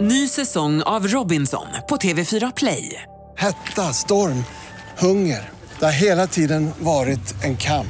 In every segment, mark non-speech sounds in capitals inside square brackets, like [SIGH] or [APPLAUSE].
Ny säsong av Robinson på TV4 Play. Hetta, storm, hunger. Det har hela tiden varit en kamp.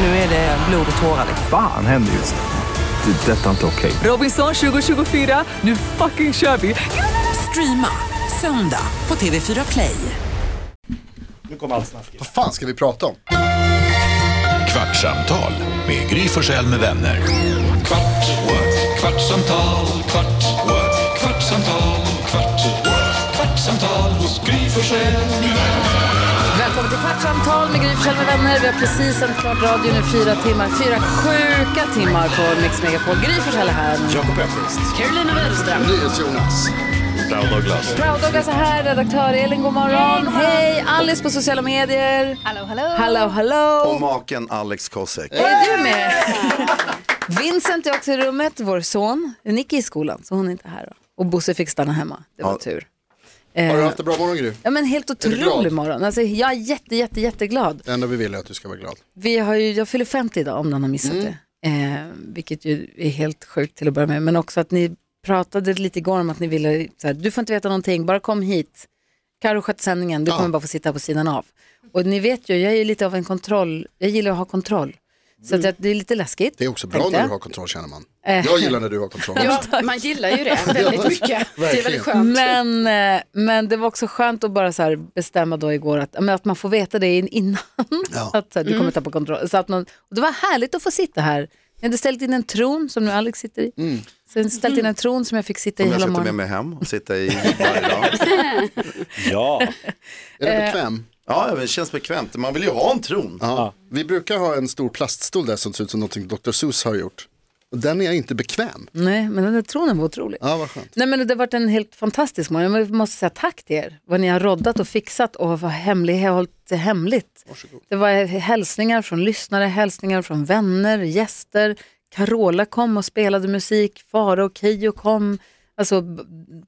Nu är det blod och tårar. liksom. Fan händer just nu. Det. är Detta är inte okej. Robinson 2024, nu fucking kör vi! Streama söndag på TV4 Play. Nu kommer allt snack. Vad fan ska vi prata om? Kvartsamtal med Gry Forssell med vänner. Kvart, what? kvartsamtal, kvart, what? kvartsamtal, kvart, what? kvartsamtal hos Gry Forssell med vänner. Välkommen till Kvartsamtal med Gry Forssell med vänner. Vi har precis sänt klart radion i fyra timmar. Fyra sjuka timmar på Mix Megapol. Gry Forssell är här. Jakob Öqvist. Carolina Widerström. NyhetsJonas. Brown Douglas. Proud Douglas är här. Redaktör Elin, god morgon. Hej! Alice på sociala medier. Hallå, hallå. Hallå, hallå. Och maken Alex Kosek. Är du med? Vincent är också i rummet, vår son. Nicky är i skolan, så hon är inte här. Då. Och Bosse fick stanna hemma. Det var Ja. tur. Har du Eh, haft en bra morgon Gry? ja, men helt du glad? otrolig morgon. Alltså, jag är jätte, jätte, jätteglad. Det enda vi vill är att du ska vara glad. Vi har ju, jag fyller 50 idag om någon har missat Mm. det. Eh, vilket ju är helt sjukt till att börja med. Men också att ni pratade lite igår om att ni ville, så här, du får inte veta någonting, bara kom hit. Karo sköter sändningen, du kommer bara få sitta på sidan av. Och ni vet ju, jag är ju lite av en kontroll, jag gillar att ha kontroll. Så att jag, det är lite läskigt. Mm. Det är också bra tänkte när du jag. har kontroll känner man. Eh. Jag gillar när du har kontroll. Ja, [LAUGHS] man gillar ju det väldigt mycket. Det är väldigt skönt. Men, eh, men det var också skönt att bara så här bestämma då igår att, men att man får veta det in- innan. Ja. [LAUGHS] Att så här, du kommer tappa kontroll. Så att man, och det var härligt att få sitta här. Jag hade ställt in en tron som nu Alex sitter i. Sen ställt in en tron som jag fick sitta i Om jag hela ska ta med morgonen. mig hem och sitta i varje dag. [LAUGHS] Ja, Är det Eh. bekväm? Ja, men det känns bekvämt. Man vill ju ha en tron. Ja. Vi brukar ha en stor plaststol där som ser ut som någonting Dr. Seuss har gjort. Och den är inte bekväm. Nej, men den där tronen var otrolig. Ja, vad skönt. Nej, men det har varit en helt fantastisk morgon. Jag måste säga tack till er. Vad ni har roddat och fixat och vad hemlig, hållit det hemligt. Det var hälsningar från lyssnare, hälsningar från vänner, gäster. Carola kom och spelade musik, Farao och Keyyo kom. Alltså B-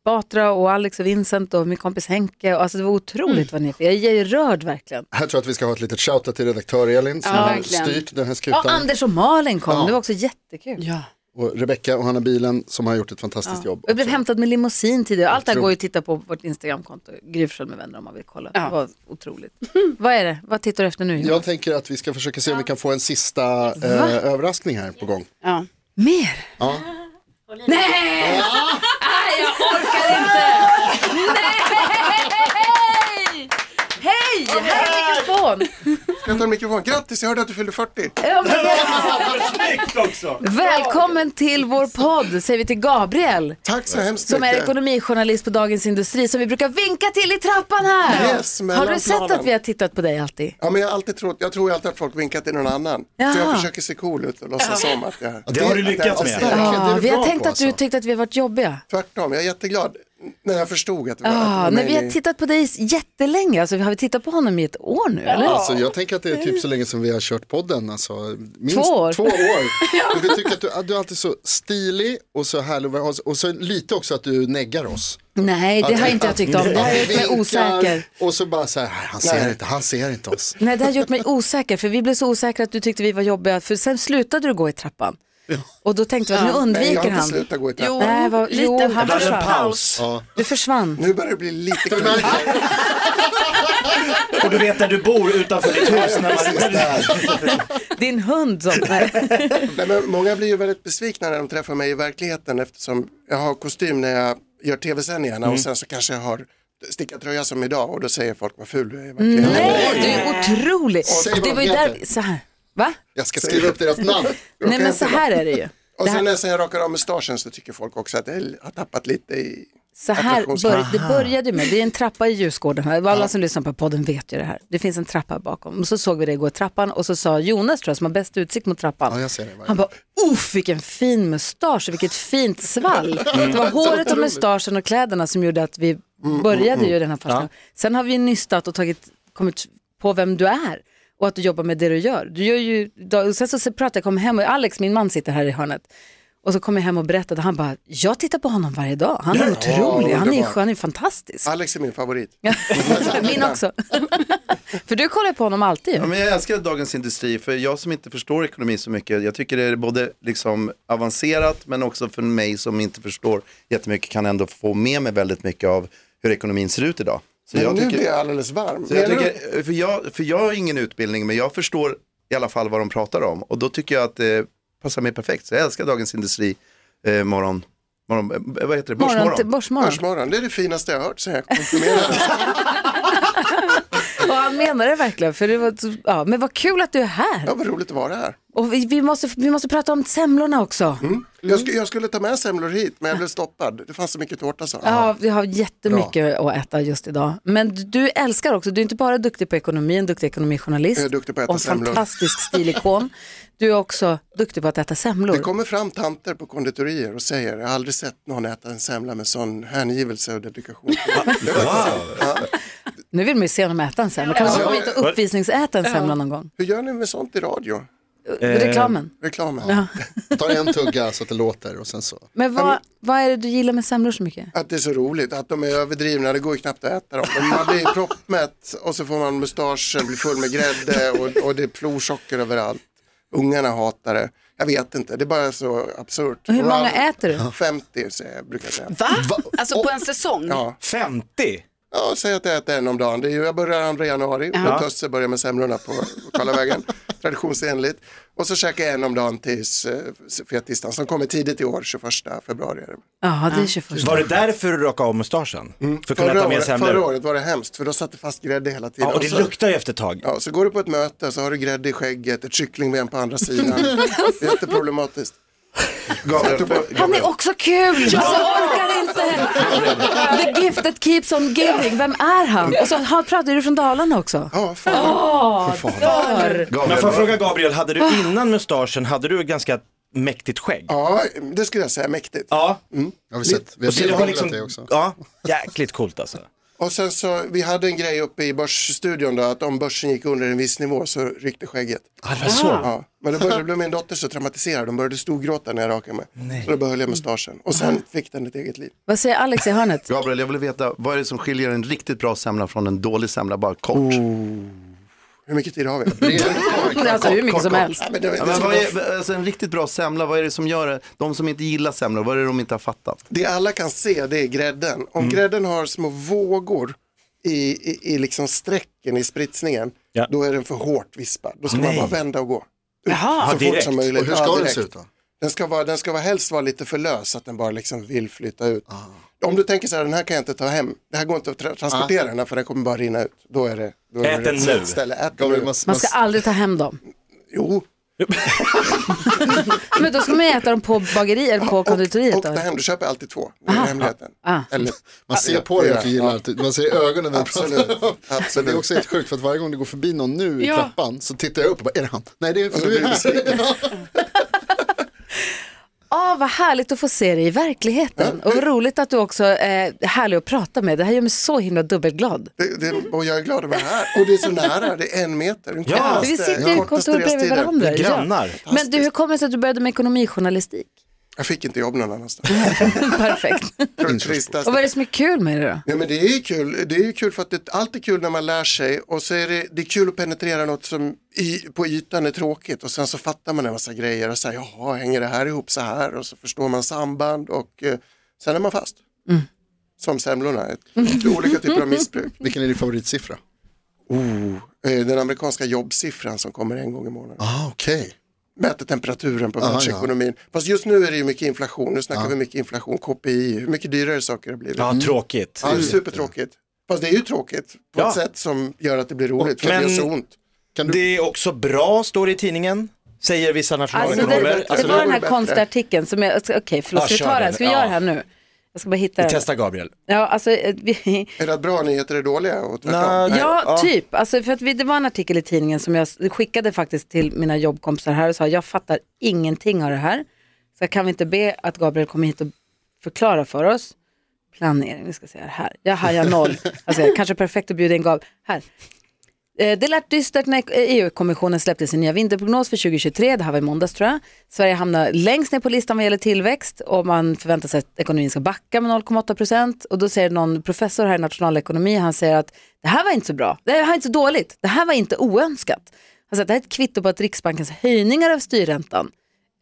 Batra och Alex och Vincent och min kompis Henke. Alltså det var otroligt Mm. vad ni fick. Jag är rörd verkligen. Här tror jag att vi ska ha ett litet shoutout till redaktör Elin som Ja, har verkligen. styrt den här skutan. Ja, Anders och Malin kom. Ja. Det var också jättekul. Ja. Och Rebecka och Hanna Bilen som har gjort ett fantastiskt jobb. Och Jag blev också. hämtad med limousin tidigare. Allt det här Otroligt. går ju att titta på vårt Instagramkonto, Gry Forssell med vänner om man vill kolla. Ja. Det var otroligt. Vad är det? Vad tittar du efter nu? Jag tänker att vi ska försöka se om vi kan få en sista eh, överraskning här på gång. Ja. Mer? Ja. Nej! Nej, jag orkar inte! Nej! Hej! Här är mikrofon! Jag tar en mikrofon. Grattis, jag hörde att du fyllde 40. Eh. Ja, men- snyggt också. Välkommen till vår podd, säger vi till Gabriel. Tack så hemskt Som är ekonomijournalist på Dagens Industri som vi brukar vinka till i trappan här. Yes, har mellan du sett planen. att vi har tittat på dig alltid? Ja, men jag, har alltid trott, jag tror alltid att folk vinkat till någon annan. Jaha. Så jag försöker se cool ut och låtsas som att jag... Det har du lyckats med. verkligen, det är Ja, du vi har bra tänkt på, att du alltså. tyckte att vi har varit jobbiga. Tvärtom, jag är jätteglad när jag förstod att det var... att det Ja, var nej, mig vi har ni- tittat på dig jättelänge. Alltså, vi har vi tittat på honom i ett år nu, eller? Alltså, jag tänker att det är typ så länge som vi har kört podden. Alltså, minst Två år. Två [LAUGHS] år. Och vi tycker att du, att du är alltid så stilig och så härlig och- och så lite också att du neggar oss. Nej, det Att- har inte jag att- tyckt om. Det har att vi gjort mig vinkar osäker. Och så bara så här, han ser inte, han ser inte oss. Nej, det har gjort mig osäker, för vi blev så osäkra att du tyckte vi var jobbiga. För sen slutade du gå i trappan. Och då tänkte vi att nu Nej, jag har undviker inte han. slutat gå i Jo, trappan. Nej, vad- lite jo, han bara en försvann. paus. Ja. Du försvann. Nu börjar det bli lite [LAUGHS] Du kul. märker, Och du vet där du bor utanför ditt hus. När man... Din hund som... Nej. Nej, men många blir ju väldigt besvikna när de träffar mig i verkligheten eftersom jag har kostym när jag gör tv-sändningarna och sen så kanske jag har stickat tröja som idag och då säger folk vad ful du är i verkligheten. Nej, du är otrolig. Säg vad Det var ju de där... heter. Så här. Va? jag ska skriva upp deras namn. Nej, men så här är det ju. Och Det här- sen när jag rakar av mustaschen så tycker folk också att jag har tappat lite i... Så här Attraktions- bör, det började med, det är en trappa i Djurgården här, alla som lyssnar på podden vet ju det här. Det finns en trappa bakom. Och så såg vi det gå i trappan och så sa Jonas tror jag som har bäst utsikt mot trappan. Ja, jag ser det varje Han bara, uff vilken fin mustasch och vilket fint svall. Det var håret och mustaschen och kläderna som gjorde att vi började ju den här farsen. Sen har vi nystat och tagit, kommit på vem du är och att du jobbar med det du gör. Du gör ju, och sen så pratade jag, kom hem och Alex, min man sitter här i hörnet. Och så kom jag hem och berättade, han bara, jag tittar på honom varje dag, han är Ja, otrolig, han är ju underbart. skön, han är fantastisk. Alex är min favorit. [LAUGHS] Min också. För du kollar på honom alltid ju. Ja, men jag älskar Dagens Industri, för jag som inte förstår ekonomi så mycket, jag tycker det är både liksom avancerat, men också för mig som inte förstår jättemycket kan ändå få med mig väldigt mycket av hur ekonomin ser ut idag. Så Men jag nu tycker, blir jag alldeles varm. så jag Menar du- tycker för, jag, för jag har ingen utbildning, men jag förstår i alla fall vad de pratar om. Och då tycker jag att det passar mig perfekt, så jag älskar Dagens Industri eh, morgon, morgon, eh, vad heter det, Morgon, börsmorgon. börsmorgon. Börsmorgon, det är det finaste jag har hört sen jag konfirmerades. Och han menar det verkligen. För det var, ja, men vad kul att du är här. Ja, vad roligt att vara här. Mm. Och vi, vi, måste, vi måste prata om semlorna också. Jag, sk- jag skulle ta med semlor hit, men jag blev stoppad. Det fanns så mycket tårta så. Ja, vi har jättemycket att äta just idag. Men du- du älskar också, du är inte bara duktig på ekonomi, en duktig ekonomijournalist. Jag är duktig på att äta och en semlor. fantastisk stilikon. Du är också duktig på att äta semlor. Det kommer fram tanter på konditorier och säger, jag har aldrig sett någon äta en semla med sån hängivelse och dedikation. [LAUGHS] Nu vill man ju se honom äta en semla. Kan man komma hit och uppvisningsäta en semla någon gång? Hur gör ni med sånt i radio? Reklamen. Reklamen. Tar en tugga så att det låter och sen så. Men vad, vad är det du gillar med semlor så mycket? Att det är så roligt, att de är överdrivna, det går ju knappt att äta dem. [LAUGHS] Men man blir proppmätt och så får man mustaschen, blir full med grädde och, och det är plorsocker överallt. Ungarna hatar det. Jag vet inte, det är bara så absurt. Och hur många Rub- äter du? 50 säger jag, brukar jag säga. Va? Alltså på en säsong? Ja. 50? Ja, säg att jag äter en om dagen. Det är ju, jag börjar 2 januari, ja. Tösse börjar med semlorna på [LAUGHS] Karlavägen, traditionsenligt. Och så käkar jag en om dagen tills eh, fettisdagen som kommer tidigt i år, 21 februari. är det. Ja, det är 21. Var det därför du rakade av mustaschen? För att kunna Förra äta mer året, förra semlor? året var det hemskt, för då satt det fast grädde hela tiden. Ja, och det Och så, luktar ju efter ett tag. ja, så går du på ett möte så har du grädde i skägget, ett kycklingben [LAUGHS] på andra sidan. Alltså. Det är Jätteproblematiskt. Gabriel, får- Han är också kul! Alltså, jag orkar inte! The gift that keeps on giving, vem är han? Och så han pratar du från Dalarna också. Ja, fan. Men får jag Gabriel, fråga Gabriel, hade du innan mustaschen, hade du ett ganska mäktigt skägg? ja, det skulle jag säga, mäktigt. Ja. Jag har vi sett, vi har Så du har bildgooglat liksom, det också. ja, jäkligt coolt alltså. Och sen så, vi hade en grej uppe i börsstudion då, att om börsen gick under en viss nivå så ryckte skägget. Ja, det var så. Ja, men då började blev min dotter så traumatiserad, hon började storgråta när jag rakade mig. Så då behöll jag mustaschen och sen fick den ett eget liv. Vad säger Alex i hörnet? Gabriel, jag vill veta, vad är det som skiljer en riktigt bra semla från en dålig semla, bara kort? Oh. Hur mycket [LAUGHS] tid har vi? Det är Alltså hur mycket som helst. Nej, men det, det, Ja, ska men vad vara- är, alltså en riktigt bra semla, vad är det som gör det? De som inte gillar semlor, vad är det de inte har fattat? det alla kan se det är grädden. Om Mm. grädden har små vågor i, i, i liksom strecken i spritsningen, Ja. då är den för hårt vispad. Då ska man nej. bara vända och gå. Ja, Så fort direkt. som möjligt. Och hur Ja, ska den direkt. se ut då? Den ska, vara, den ska vara, helst vara lite för lös, så att den bara liksom vill flytta ut. Om du tänker så här, den här kan jag inte ta hem, det här går inte att tra- transportera den här för den kommer bara rinna ut. Då är det, då är Ät det den rätt nu. ställe. Ät den Gabriel, nu. man, Man ska aldrig ta hem dem. Jo, [LAUGHS] Men då ska man ju äta dem på bageri eller på konditoriet. och då. ta hem, du köper alltid två. Det är hemligheten. Ah. Eller, man ser på dig att du Ja. gillar att man ser i ögonen när du Absolut. pratar. om- Men [LAUGHS] Absolut. det är också helt sjukt för att varje gång du går förbi någon nu i Ja. trappan så tittar jag upp och bara, är det han? Nej, det är för så du blir är du här. Ja, vad härligt att få se dig i verkligheten. Och vad roligt att du också eh, är härlig att prata med. Det här gör mig så himla dubbelglad. Det, det, och jag är glad att vara här. Och det är så nära, det är en meter. Den Ja. kortaste- Alltså, Vi sitter i kortaste kontor bredvid restiden. varandra. Vi är grannar. Ja. Men du, hur kommer det sig att du började [LAUGHS] med ekonomijournalistik? Jag fick inte jobb någon annanstans. Perfekt. Det var det tristaste. Och vad är det som är kul med det då? Ja, men det är ju kul. Det är ju kul för att det, allt är kul när man lär sig och så är det, det är kul att penetrera något som i, på ytan är tråkigt och sen så fattar man en massa grejer och säger jaha, hänger det här ihop så här och så förstår man samband och eh, sen är man fast. Som semlorna, ett, olika typer av missbruk. [LAUGHS] Vilken är din favoritsiffra? Eh, Den amerikanska jobbsiffran som kommer en gång i månaden. Ah, okej. Ah, Mäter temperaturen på ja. Ah. världsekonomin. Fast just nu är det ju mycket inflation, nu snackar vi mycket inflation, KPI, hur mycket dyrare saker har blivit. Ja, tråkigt. Ja, det är supertråkigt. Fast det är ju tråkigt på Typ. Ja. ett sätt som gör att det blir roligt för Men- det gör så ont. Det är också bra, står det i tidningen, säger vissa Alltså det, nationalekonomer. det, Alltså, var den här bättre. konstiga artikeln som jag, okej förlåt, Ja, ska vi Ah, kör ta den? den. Ska vi Ja. göra det här nu? Jag ska bara hitta den. Testa Gabriel. Ja, alltså, eh, vi, Är det att bra nyheter är dåliga och Nej. tvärtom? ja, typ. Alltså, för att vi, det var en artikel i tidningen som jag s- skickade faktiskt till mina jobbkompisar här och sa jag fattar ingenting av det här. Så jag kan vi inte be att Gabriel kommer hit och förklara för oss. Planering, vi ska se här. här. Jag hajar noll. Alltså, kanske perfekt att bjuda in Gabriel. Här. Eh, Det lät dystert när EU-kommissionen släppte sin nya vinterprognos för 2023, det här var i måndags tror jag. Sverige hamnar längst ner på listan vad gäller tillväxt och man förväntar sig att ekonomin ska backa med 0,8 procent. Och då säger någon professor här i nationalekonomi, han säger att det här var inte så bra, det här är inte så dåligt, det här var inte oönskat. Han säger att det här är ett kvitto på att Riksbankens höjningar av styrräntan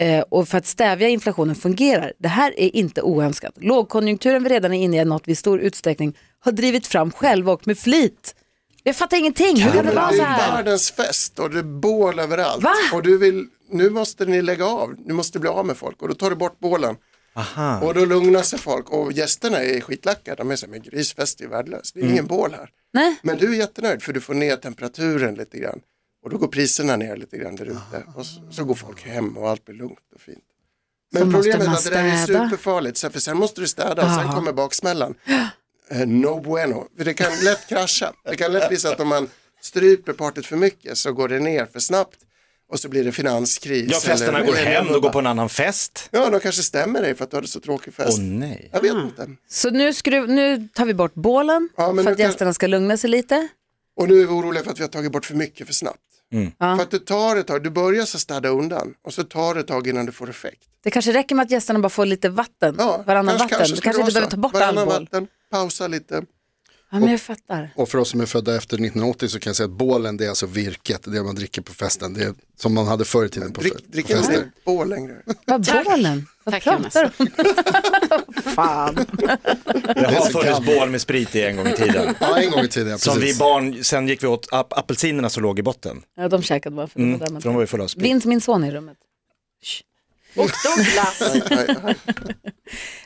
eh, och för att stävja inflationen fungerar. Det här är inte oönskat. Lågkonjunkturen vi redan är inne i, något vi i stor utsträckning har drivit fram själva och med flit. Jag fattar ingenting, hur kan det vara det så är här? världens fest och det är bål överallt. Va? Och du vill, nu måste ni lägga av, nu måste bli av med folk och då tar du bort bålen. Och då lugnar sig folk och gästerna är skitlackade. De är så här, men grisfest är värdelöst, Mm. det är ingen bål här. Nej. Men du är jättenöjd för du får ner temperaturen lite grann. Och då går priserna ner lite grann där ute. Ah. Och så, så går folk hem och allt blir lugnt och fint. Så Men måste problemet är man att det där är städa. superfarligt. så- För sen måste du städa och sen kommer baksmällan. Eh, No bueno. För det kan lätt krascha. Det kan lätt bli så att om man stryper partyt för mycket så går det ner för snabbt. Och så blir det finanskris. Ja, festerna eller- går hem, de går på en annan fest. Ja, de kanske stämmer dig för att du hade så tråkig fest. Åh nej. Jag Mm. vet inte. Så nu, skruv, nu tar vi bort bålen Ja, men för nu att kan- gästerna ska lugna sig lite. Och nu är vi oroliga för att vi har tagit bort för mycket för snabbt. Ja. Mm. För att det tar ett tag, du börjar så städa undan och så tar det ett tag innan du får effekt. Det kanske räcker med att gästerna bara får lite vatten, varannan vatten. du skulle kanske vara inte behöver så. ta bort all Varannan bål. vatten, pausa lite. Ja, men jag fattar. Och för oss som är födda efter 1980 så kan jag säga att bålen det är alltså virket, det man dricker på festen, det är som man hade förr i tiden på, Drick, på drick fester. inte [LAUGHS] bål längre. Vad bålen? Vad Tack, pratar du om? Fan. Det har så funnits gammalt. bål med sprit i en gång i tiden. [LAUGHS] Ja, en gång i tiden, ja, Som vi precis. barn, sen gick vi åt ap apelsinerna som låg i botten. Ja, de käkade bara för Mm, det var där man- För de var ju fulla av sprit. Vint min son i rummet. Och Douglas. [LAUGHS] Nej, nej. [LAUGHS]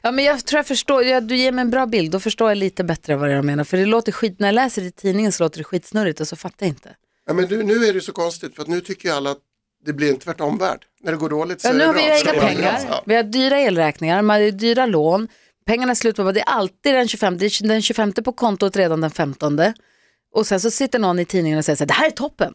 Ja, men jag tror jag förstår, ja, du ger mig en bra bild, då förstår jag lite bättre vad jag menar. För det låter skit, när jag läser det i tidningen så låter det skitsnurrigt och så fattar jag inte. Ja, men du, nu är det så konstigt för att nu tycker ju alla att det blir en tvärtomvärld. När det går dåligt så Ja, är nu det har bra. vi ju Så egna det är bra. pengar, Ja. vi har dyra elräkningar, man har dyra lån, pengarna är slut på, det är alltid den 25, det är den 25 på kontot redan den 15. Och sen så sitter någon i tidningen och säger så här, det här är toppen.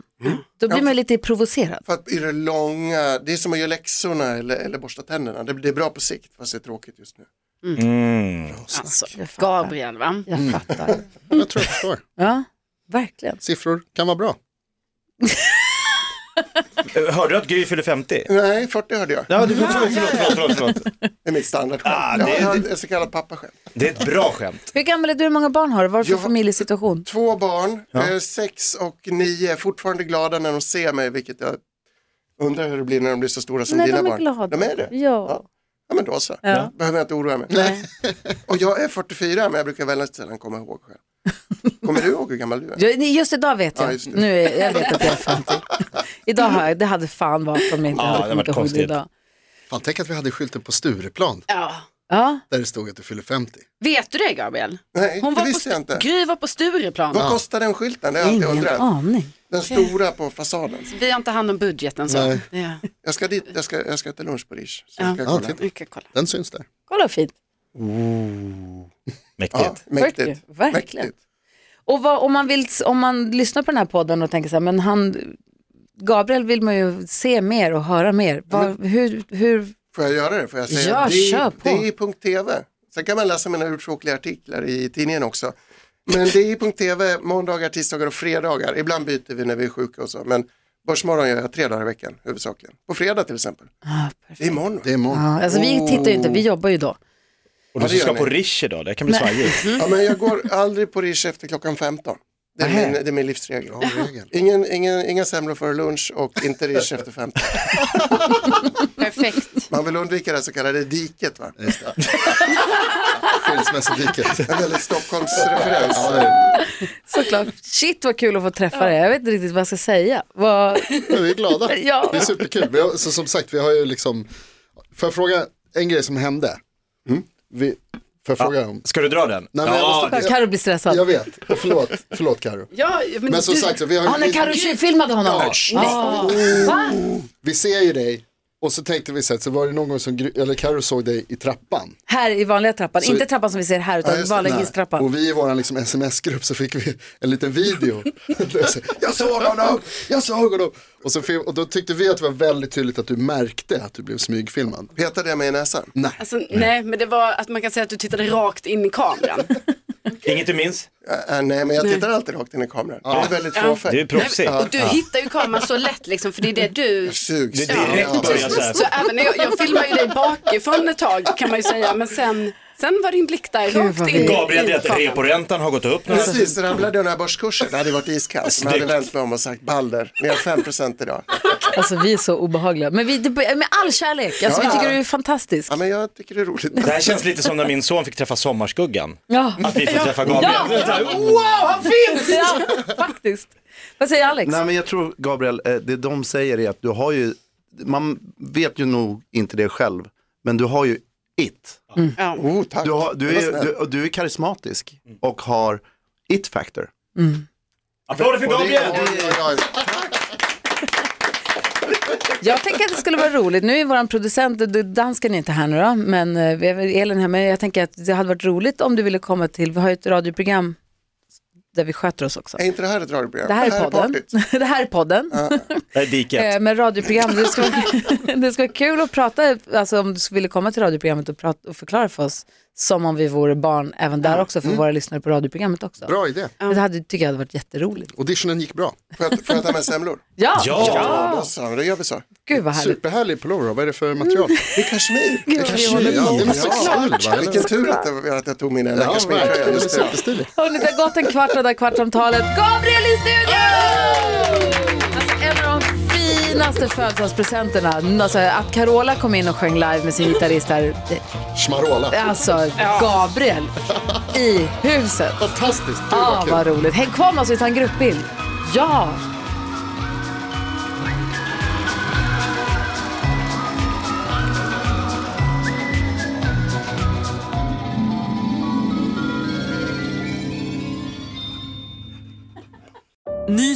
Då blir man ju lite provocerad. För att i det långa, det är som att göra läxorna eller, eller borsta tänderna. Det, det är bra på sikt fast det är tråkigt just nu. Alltså, Jag fattar. Gabriel va? Jag fattar. Jag tror jag förstår. Ja, verkligen. Siffror kan vara bra. Eh, Hörde du att Gry fyller 50? Nej, 40 hörde jag. Ja, du, förlåt, förlåt, förlåt, förlåt, förlåt. Det är mitt standardskämt. Ah, det- det, jag har ett så kallat pappaskämt. Det är ett bra skämt. Hur gammal är du, hur många barn har du, vad är det för Jag- familjesituation? Två barn, eh, sex och nio, fortfarande glada när de ser mig, vilket jag undrar hur det blir när de blir så stora som Nej, dina de är barn. glada. De är det? Ja. Ja, men då så. Ja. Behöver jag inte oroa mig. Nej. [LAUGHS] Och jag är 44, men jag brukar väldigt sällan komma ihåg [LAUGHS] själv. Kommer du ihåg hur gammal du är? Jag- nej, Just idag vet jag. Ja, just det. nu är, jag vet att jag är [LAUGHS] 50. idag har jag, det hade fan varit om jag inte Ja, det hade hade varit kommit ihåg det konstigt. idag. Fan, tänk att vi hade skylten på Stureplan Ja. Ja, där det stod att du fyller 50. Vet du det Gabriel? Nej, Hon det var på, visste jag Stu- inte. Gry var på Stureplan. Vad kostar den skylten? Det har jag alltid ingen undrat. aning. Den Ah, stora på fasaden. Vi har inte hand om budgeten så. Nej. Ja. Jag ska dit, jag ska, jag ska äta lunch på Riche. Så Ja. jag ska Ja, kolla. titta. Vi kan kolla. Den syns där. Kolla vad fint. Ja, Mäktigt. mäktigt. Verkligen. Mäktigt. Och vad, om, man vill, om man lyssnar på den här podden och tänker så här, men han, Gabriel vill man ju se mer och höra mer. Vad, hur, hur, Får jag göra det? Får jag säga? Ja, det, är- kör på. det är i .tv. Sen kan man läsa mina uttråkliga artiklar i tidningen också. Men det är i .tv måndagar, tisdagar och fredagar. Ibland byter vi när vi är sjuka och så. Men Börsmorgon gör jag tre dagar i veckan huvudsakligen. På fredag till exempel. ah, Det är imorgon. va? Det är imorgon. ja, alltså Oh. vi tittar ju inte, vi jobbar ju då. Och Ja, du det som gör ska ni. på Riche idag, det kan bli svajigt. Ja, men jag går aldrig på Riche efter klockan 15. Det är, min, det är min livsregel. Bra regel. Ingen, ingen, inga semlor före lunch och inte Riche efter 15. [LAUGHS] Perfekt. Man vill undvika det här så kallade diket. Va? Just det. [LAUGHS] Skilsmässodiket. En väldigt Stockholmsreferens. Ja, det är- Såklart. Shit vad kul att få träffa dig, jag vet inte riktigt vad jag ska säga. [LAUGHS] Vad, men vi är [LAUGHS] glada. Ja. Det är superkul. Vi har, så, som sagt, vi har ju liksom, får jag fråga en grej som hände? Mm. Vi, får jag fråga om? Ska du dra den? Nej, men jag ja, måste- Carro blir stressad. Jag vet, förlåt, förlåt Karo. Ja, men, Men som du... sagt, så vi, har, Ja, Ah, när Carro vi, tjuvfilmade honom. Ja, Ah. Va? vi ser ju dig och så tänkte vi så här, så var det någon gång som Gry- eller Karo såg dig i trappan. Här i vanliga trappan, Så- inte trappan som vi ser här utan Ja, just det. vanliga Nej. hisstrappan. Och vi i vår liksom, sms-grupp så fick vi en liten video. [LAUGHS] jag såg honom, jag såg honom. Och, så, fi- och då tyckte vi att det var väldigt tydligt att du märkte att du blev smygfilmad. Petade jag mig i näsan? Alltså, nej, men det var att man kan säga att du tittade rakt in i kameran. Inget du minns? Äh, nej, men jag tittar alltid rakt in i kameran. Det är väldigt Du är fåfängt. proffsig. Och du hittar ju kameran så lätt liksom, för det är det du... Sugs. Det är direkt att börja så här. Så även när jag, jag filmar ju dig bakifrån ett tag kan man ju säga, men sen, sen var din blick där Gud, vad rakt in. i Gabriel berättade att kameran. reporäntan har gått upp. nu. Precis, ramlade jag den här börskursen, det hade varit iskallt. Men jag hade vänt mig om och sagt Balder, ner 5% idag. Alltså vi är så obehagliga. Men vi, det- med all kärlek, alltså, vi tycker du är fantastisk. Ja, men jag tycker det är roligt. Det här känns lite som när min son fick träffa Sommarskuggan. Ja. Att vi får träffa Gabriel. Ja. Så här, Wow, han finns! ja, [LAUGHS] faktiskt. Vad säger Alex? Nej men jag tror Gabriel, eh, det de säger är att du har ju, man vet ju nog inte det själv, men du har ju it. Oh, tack. Du, har, du, Det var är, snällt. du, och du är karismatisk Mm. och har it factor. Applåder för Gabriel! Jag tänker att det skulle vara roligt. Nu är vår producent, d- d- dansken är inte här nu då, men eh, vi har väl Elin här, men jag tänker att det hade varit roligt om du ville komma till, vi har ju ett radioprogram där vi sköter oss också. Är inte det här ett radioprogram? Det här är podden. [LAUGHS] partyt. Det här är podden. Det är diket. Eh, Men radioprogram, det ska, vara, [LAUGHS] det ska vara kul att prata, alltså om du ville komma till radioprogrammet och, prata, och förklara för oss som om vi vore barn även där också för våra lyssnare på radioprogrammet också. Bra idé. Det hade, tycker jag hade varit jätteroligt. Auditionen gick bra. Får jag- får jag ta med semlor? Ja, Ja! Ja, då så, då gör vi så. gud vad härligt. Superhärlig pullover, vad är det för material? Det är kashmir. Gud, vi håller på. Ja, det måste vara ull va? Vilken Eller? tur att, det, att jag tog min enda Ja, kashmirtröja. verkligen. Det är Just det. superstiligt. Hörni, det har gått en kvart av det här kvartsamtalet. Gabriel i studion! Alltså, en av de finaste födelsedagspresenterna. Alltså, att Carola kom in och sjöng live med sin gitarrist här. Smarola. Alltså, Gabriel i huset. Fantastiskt. Gud, vad Ja, kul. vad roligt. Häng kvar med oss, vi tar en gruppbild. Ja! Ny